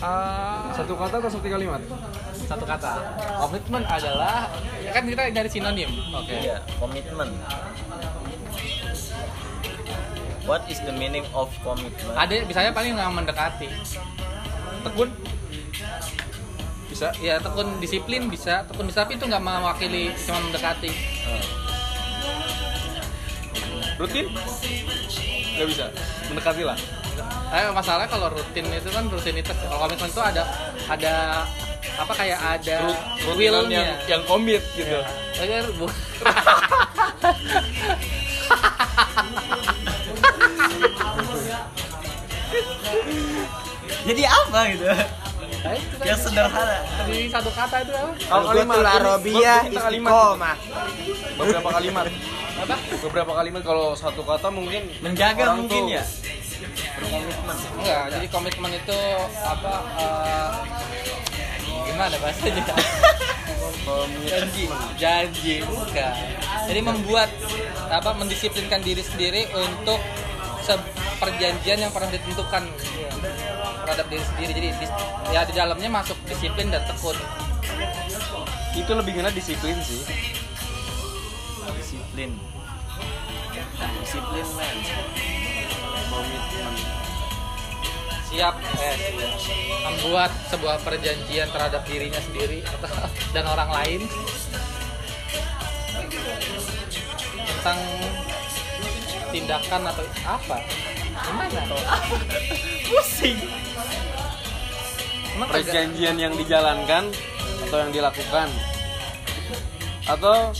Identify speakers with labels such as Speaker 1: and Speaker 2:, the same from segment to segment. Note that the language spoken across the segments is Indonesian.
Speaker 1: Ah,
Speaker 2: Satu kata atau satu kalimat?
Speaker 1: satu kata. Komitmen adalah ya kan kita nyari sinonim. Oke.
Speaker 3: Iya, komitmen. What is the meaning of commitment?
Speaker 1: Ada misalnya paling yang mendekati. Tekun
Speaker 2: Bisa.
Speaker 1: ya tekun disiplin bisa, tekun bisa tapi itu nggak mewakili cuma mendekati.
Speaker 3: Hmm.
Speaker 2: Rutin? Nggak bisa. Mendekati lah.
Speaker 1: Eh masalah kalau rutin itu kan rutinitas. Kalau komitmen itu ada ada apa kayak ada
Speaker 2: Rut- rutinan yang
Speaker 1: will-nya.
Speaker 2: yang komit gitu.
Speaker 3: Iya.
Speaker 1: Agar bu.
Speaker 3: Jadi apa gitu?
Speaker 1: Nah, itu kan.
Speaker 3: Yang sederhana.
Speaker 1: Di satu kata itu apa?
Speaker 2: Kalau
Speaker 4: Kalau gue
Speaker 2: kalimat,
Speaker 4: tuh
Speaker 2: gua-
Speaker 4: larobia
Speaker 2: gua minta kalimat.
Speaker 4: istiqomah.
Speaker 2: Beberapa kalimat.
Speaker 1: Apa?
Speaker 2: Beberapa kalimat kalau satu kata mungkin
Speaker 3: Menjaga
Speaker 2: orang
Speaker 3: mungkin
Speaker 2: tuh
Speaker 3: ya.
Speaker 1: Enggak, Iya, jadi komitmen itu apa eh, gimana bahasanya? janji, janji bukan. Jadi membuat apa mendisiplinkan diri sendiri untuk se- perjanjian yang pernah ditentukan ya, terhadap diri sendiri. Jadi dis- ya di dalamnya masuk disiplin dan tekun.
Speaker 2: Itu lebih ngena disiplin sih.
Speaker 3: Disiplin. Disiplin men.
Speaker 2: Komitmen.
Speaker 1: Siap, eh, siap. membuat sebuah perjanjian terhadap dirinya sendiri atau- dan orang lain tentang tindakan atau apa? Gimana?
Speaker 3: Pusing.
Speaker 1: Emang kagak-
Speaker 2: Perjanjian yang dijalankan atau yang dilakukan atau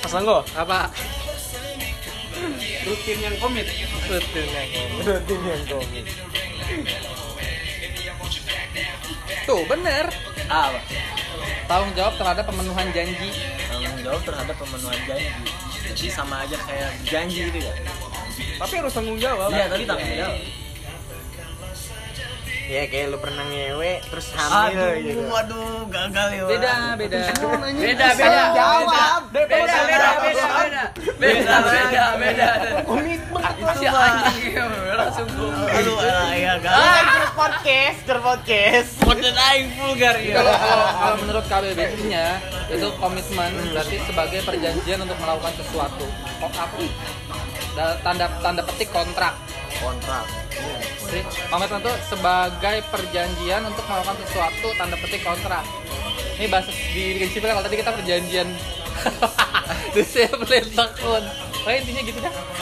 Speaker 2: Mas Langgo,
Speaker 1: apa?
Speaker 2: rutin yang komit.
Speaker 1: Betul
Speaker 3: Iya,
Speaker 2: Rutin yang komit.
Speaker 1: Tuh bener.
Speaker 3: Apa?
Speaker 1: Tanggung jawab terhadap pemenuhan janji.
Speaker 3: Tanggung jawab terhadap pemenuhan janji. Jadi sama aja kayak janji gitu ya.
Speaker 2: Tapi harus tanggung jawab.
Speaker 3: Iya, tapi tanggung jawab.
Speaker 4: Ya kayak lu pernah ngewe terus hamil gitu.
Speaker 3: waduh, gagal ya.
Speaker 1: Beda, beda.
Speaker 5: Beda, beda,
Speaker 4: Jawab.
Speaker 5: beda, beda, beda, beda, beda, beda, beda, beda. Si anjing langsung gua.
Speaker 3: Aduh, alah, ya
Speaker 4: Kan
Speaker 3: gagal.
Speaker 4: terus podcast, terus podcast.
Speaker 3: Modern aing vulgar ya.
Speaker 1: Kalau kalau kalau menurut KBBI-nya itu komitmen berarti sebagai perjanjian untuk melakukan sesuatu. Kok aku da- tanda tanda petik kontrak.
Speaker 3: Kontrak.
Speaker 1: Jadi, komitmen itu sebagai perjanjian untuk melakukan sesuatu tanda petik kontrak. Ini bahasa di disiplin kalau tadi kita perjanjian disiplin tekun. Pokoknya intinya gitu dah.